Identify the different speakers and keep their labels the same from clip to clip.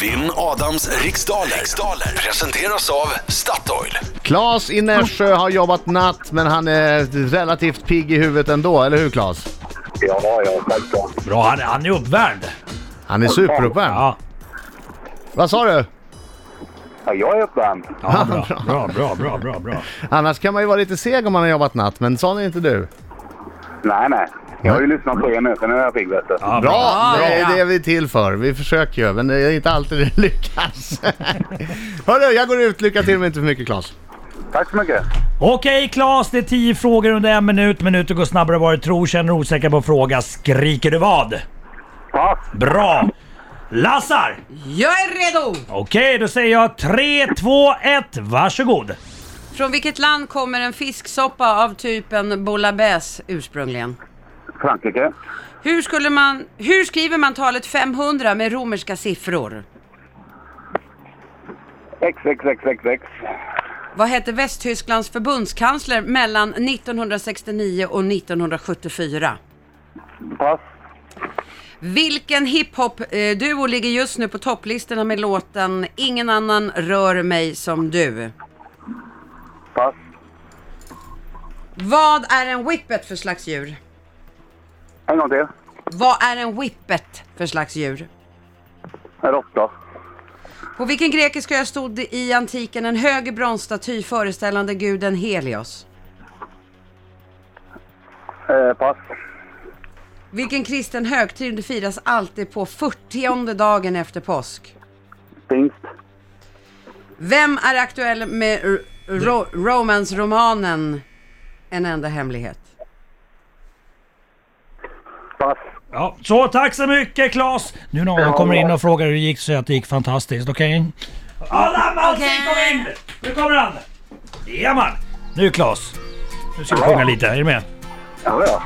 Speaker 1: Vinn Adams riksdaler. riksdaler presenteras av Statoil.
Speaker 2: Klas i Nässjö har jobbat natt men han är relativt pigg i huvudet ändå, eller hur Klas?
Speaker 3: Ja, ja, självklart.
Speaker 4: Bra, han, han är uppvärmd.
Speaker 2: Han är superuppvärmd.
Speaker 4: Ja,
Speaker 2: Vad sa du?
Speaker 3: Ja, jag är uppvärmd.
Speaker 4: ja bra, bra, bra, bra, bra, bra.
Speaker 2: Annars kan man ju vara lite seg om man har jobbat natt, men sån är inte du.
Speaker 3: Nej, nej. Jag har ju lyssnat på er nu, så nu är jag pigg, vet du.
Speaker 4: Ja,
Speaker 2: Bra! det är
Speaker 4: Ja.
Speaker 2: det vi är till för. Vi försöker ju, men det är inte alltid det lyckas. Hörru, jag går ut. Lycka till men inte för mycket Klas.
Speaker 3: Tack så mycket.
Speaker 4: Okej Claes, det är tio frågor under en minut. Minuter går snabbare än vad du tror. Känner du osäker på fråga skriker du vad?
Speaker 3: Pass.
Speaker 4: Bra! Lassar!
Speaker 5: Jag är redo!
Speaker 4: Okej, då säger jag 3, 2, 1, varsågod.
Speaker 5: Från vilket land kommer en fisksoppa av typen bouillabaisse ursprungligen?
Speaker 3: Frankrike.
Speaker 5: Hur, skulle man, hur skriver man talet 500 med romerska siffror?
Speaker 3: XXXXX.
Speaker 5: Vad hette Västtysklands förbundskansler mellan 1969 och 1974?
Speaker 3: Pass.
Speaker 5: Vilken hiphop-duo ligger just nu på topplistorna med låten Ingen annan rör mig som du?
Speaker 3: Pass.
Speaker 5: Vad är en whippet för slags djur?
Speaker 3: En gång till.
Speaker 5: Vad är en whippet för slags djur?
Speaker 3: En råtta.
Speaker 5: På vilken grekisk ö stod det i antiken en hög bronsstaty föreställande guden Helios?
Speaker 3: Eh, pass.
Speaker 5: Vilken kristen högtid firas alltid på 40 dagen efter påsk?
Speaker 3: Pingst.
Speaker 5: Vem är aktuell med r- ro- romansromanen En enda hemlighet?
Speaker 3: Pass.
Speaker 4: Ja, så tack så mycket Claes! Nu när Adam kommer in och frågar hur det gick så säger jag att det gick fantastiskt, okej? Adam Alsing kom in! Nu kommer han! Jaman! Nu Claes! Nu ska vi sjunga lite, är du med?
Speaker 3: Ja, ja.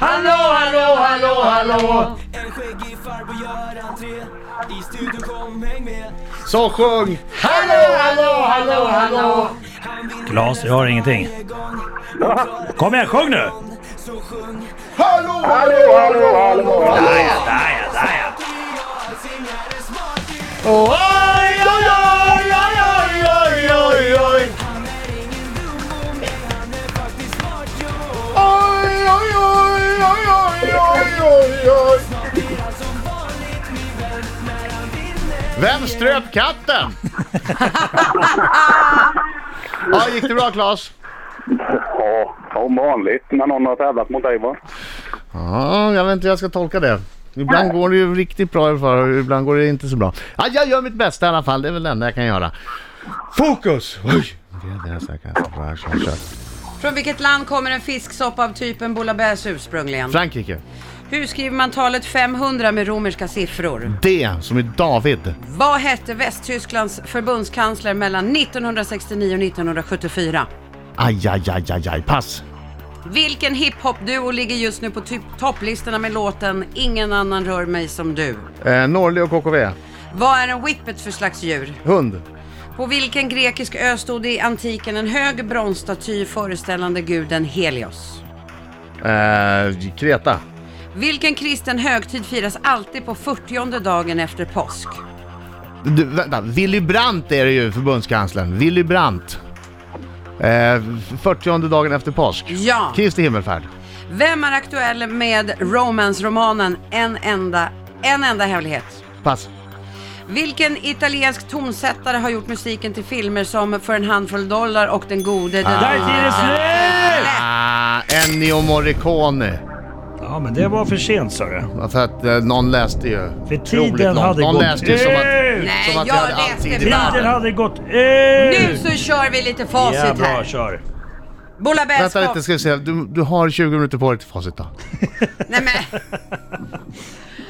Speaker 4: Hallå, hallå, hallå, hallå!
Speaker 6: En skäggig farbror gör entré I studion kom häng med
Speaker 2: Så sjung! Hallå, hallå, hallå, hallå!
Speaker 6: Han vinner
Speaker 4: Claes, jag hör ingenting.
Speaker 6: varje gång
Speaker 4: Kom igen, sjung nu!
Speaker 6: Så sjung
Speaker 2: Hallå, hallå, hallå, hallå!
Speaker 4: Där ja, där ja, där ja!
Speaker 6: jag Singare smart ju
Speaker 2: Oj, oj, oj, oj, oj, oj, oj!
Speaker 6: Han är ingen dum bonde Han är faktiskt smart ju
Speaker 2: Oj, oj, oj, oj, oj, oj, oj, oj.
Speaker 6: Blir han som vanligt min vän När han vinner
Speaker 2: Vem ströp katten? ja, gick det bra Klas?
Speaker 3: Ja, som vanligt när någon har tävlat mot dig, va?
Speaker 2: Ja, jag vet inte hur jag ska tolka det. Ibland går det ju riktigt bra i alla fall, och ibland går det inte så bra. Ja, jag gör mitt bästa i alla fall, det är väl det enda jag kan göra. Fokus! Oj! Det är det jag kan bra, kör, kör.
Speaker 5: Från vilket land kommer en fisksoppa av typen bouillabaisse ursprungligen?
Speaker 2: Frankrike.
Speaker 5: Hur skriver man talet 500 med romerska siffror?
Speaker 2: D som i David.
Speaker 5: Vad hette Västtysklands förbundskansler mellan 1969 och 1974?
Speaker 2: Aj, aj, aj, aj, aj. Pass.
Speaker 5: Vilken hiphop-duo ligger just nu på typ topplistorna med låten Ingen annan rör mig som du?
Speaker 2: Eh, Norli och KKV.
Speaker 5: Vad är en whippet för slags djur?
Speaker 2: Hund.
Speaker 5: På vilken grekisk ö stod det i antiken en hög bronsstaty föreställande guden Helios?
Speaker 2: Eh, Kreta.
Speaker 5: Vilken kristen högtid firas alltid på 40 dagen efter påsk?
Speaker 2: Du, vänta, Willy Brandt är det ju, förbundskanslern. Willy Brandt. Eh, 40 dagen efter påsk.
Speaker 5: Ja.
Speaker 2: Kristi himmelfärd.
Speaker 5: Vem är aktuell med romance-romanen En enda, en enda hemlighet?
Speaker 2: Pass.
Speaker 5: Vilken italiensk tonsättare har gjort musiken till filmer som För en handfull dollar och Den gode, den
Speaker 4: Där är tiden slut!
Speaker 2: Ah, Ennio Morricone.
Speaker 4: Ja, men det var för sent sa du.
Speaker 2: För att eh, någon läste ju.
Speaker 4: För
Speaker 2: Otroligt
Speaker 4: tiden
Speaker 2: någon.
Speaker 4: hade
Speaker 2: någon
Speaker 4: gått
Speaker 2: läste ju som att...
Speaker 4: ut!
Speaker 5: Nej,
Speaker 2: Som att
Speaker 5: jag
Speaker 2: vi hade all
Speaker 5: läste
Speaker 2: tid i
Speaker 4: Tiden
Speaker 5: bra.
Speaker 4: hade gått ut!
Speaker 5: Nu så kör vi lite facit
Speaker 4: Ja, bra,
Speaker 5: här.
Speaker 4: kör.
Speaker 2: Vänta
Speaker 5: Bouillabaisse
Speaker 2: lite, ska vi se. Du, du har 20 minuter på dig till facit då.
Speaker 5: Nej men,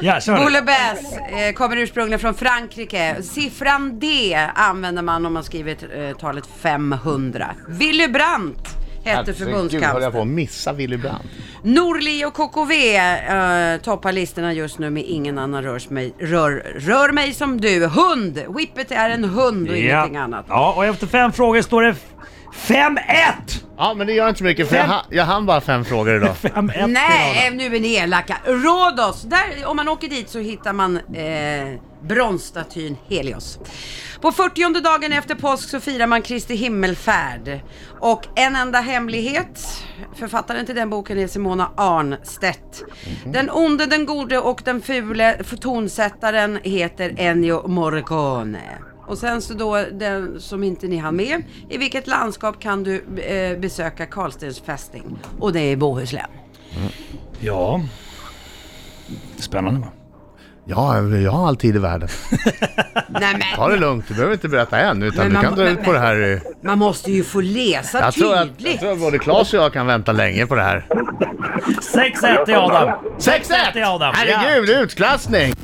Speaker 4: Ja, kör nu.
Speaker 5: bouillabaisse eh, kommer ursprungligen från Frankrike. Siffran D använder man om man skriver eh, talet 500. Willy Brandt hette
Speaker 2: höll jag på
Speaker 5: förbundskansler.
Speaker 2: att missa Willy Brandt.
Speaker 5: Norli och KKV eh, toppar listorna just nu med Ingen annan rör mig, rör, rör mig som du. Hund! Whippet är en hund och
Speaker 4: Ja.
Speaker 5: ingenting annat.
Speaker 4: ja, och efter fem frågor står det f- 5-1!
Speaker 2: Ja, men det gör inte så mycket för jag, ha- jag hann bara fem frågor idag.
Speaker 4: Fem, ett
Speaker 5: Nej, nu är ni elaka. Rhodos, där, om man åker dit så hittar man eh, bronsstatyn Helios. På 40 dagen efter påsk så firar man Kristi himmelfärd. Och en enda hemlighet, författaren till den boken är Simona Arnstedt. Den onde, den gode och den fule tonsättaren heter Ennio Morricone. Och sen så då den som inte ni hann med. I vilket landskap kan du eh, besöka Karlstens fästning? Och det är i Bohuslän.
Speaker 4: Ja. Spännande va?
Speaker 2: Ja, jag har all tid i världen.
Speaker 5: Nej
Speaker 2: Ta
Speaker 5: men,
Speaker 2: det lugnt, du behöver inte berätta än utan
Speaker 5: Men
Speaker 2: du
Speaker 5: man-
Speaker 2: kan dra
Speaker 5: men-
Speaker 2: ut på det här. eh.
Speaker 5: man måste ju få läsa
Speaker 2: Jag tror, att, jag
Speaker 5: tydligt.
Speaker 2: tror att både Claes och jag kan vänta länge på det här.
Speaker 4: 6-1 till Adam.
Speaker 2: 6-1!
Speaker 4: till Adam.
Speaker 2: Herregud, utklassning!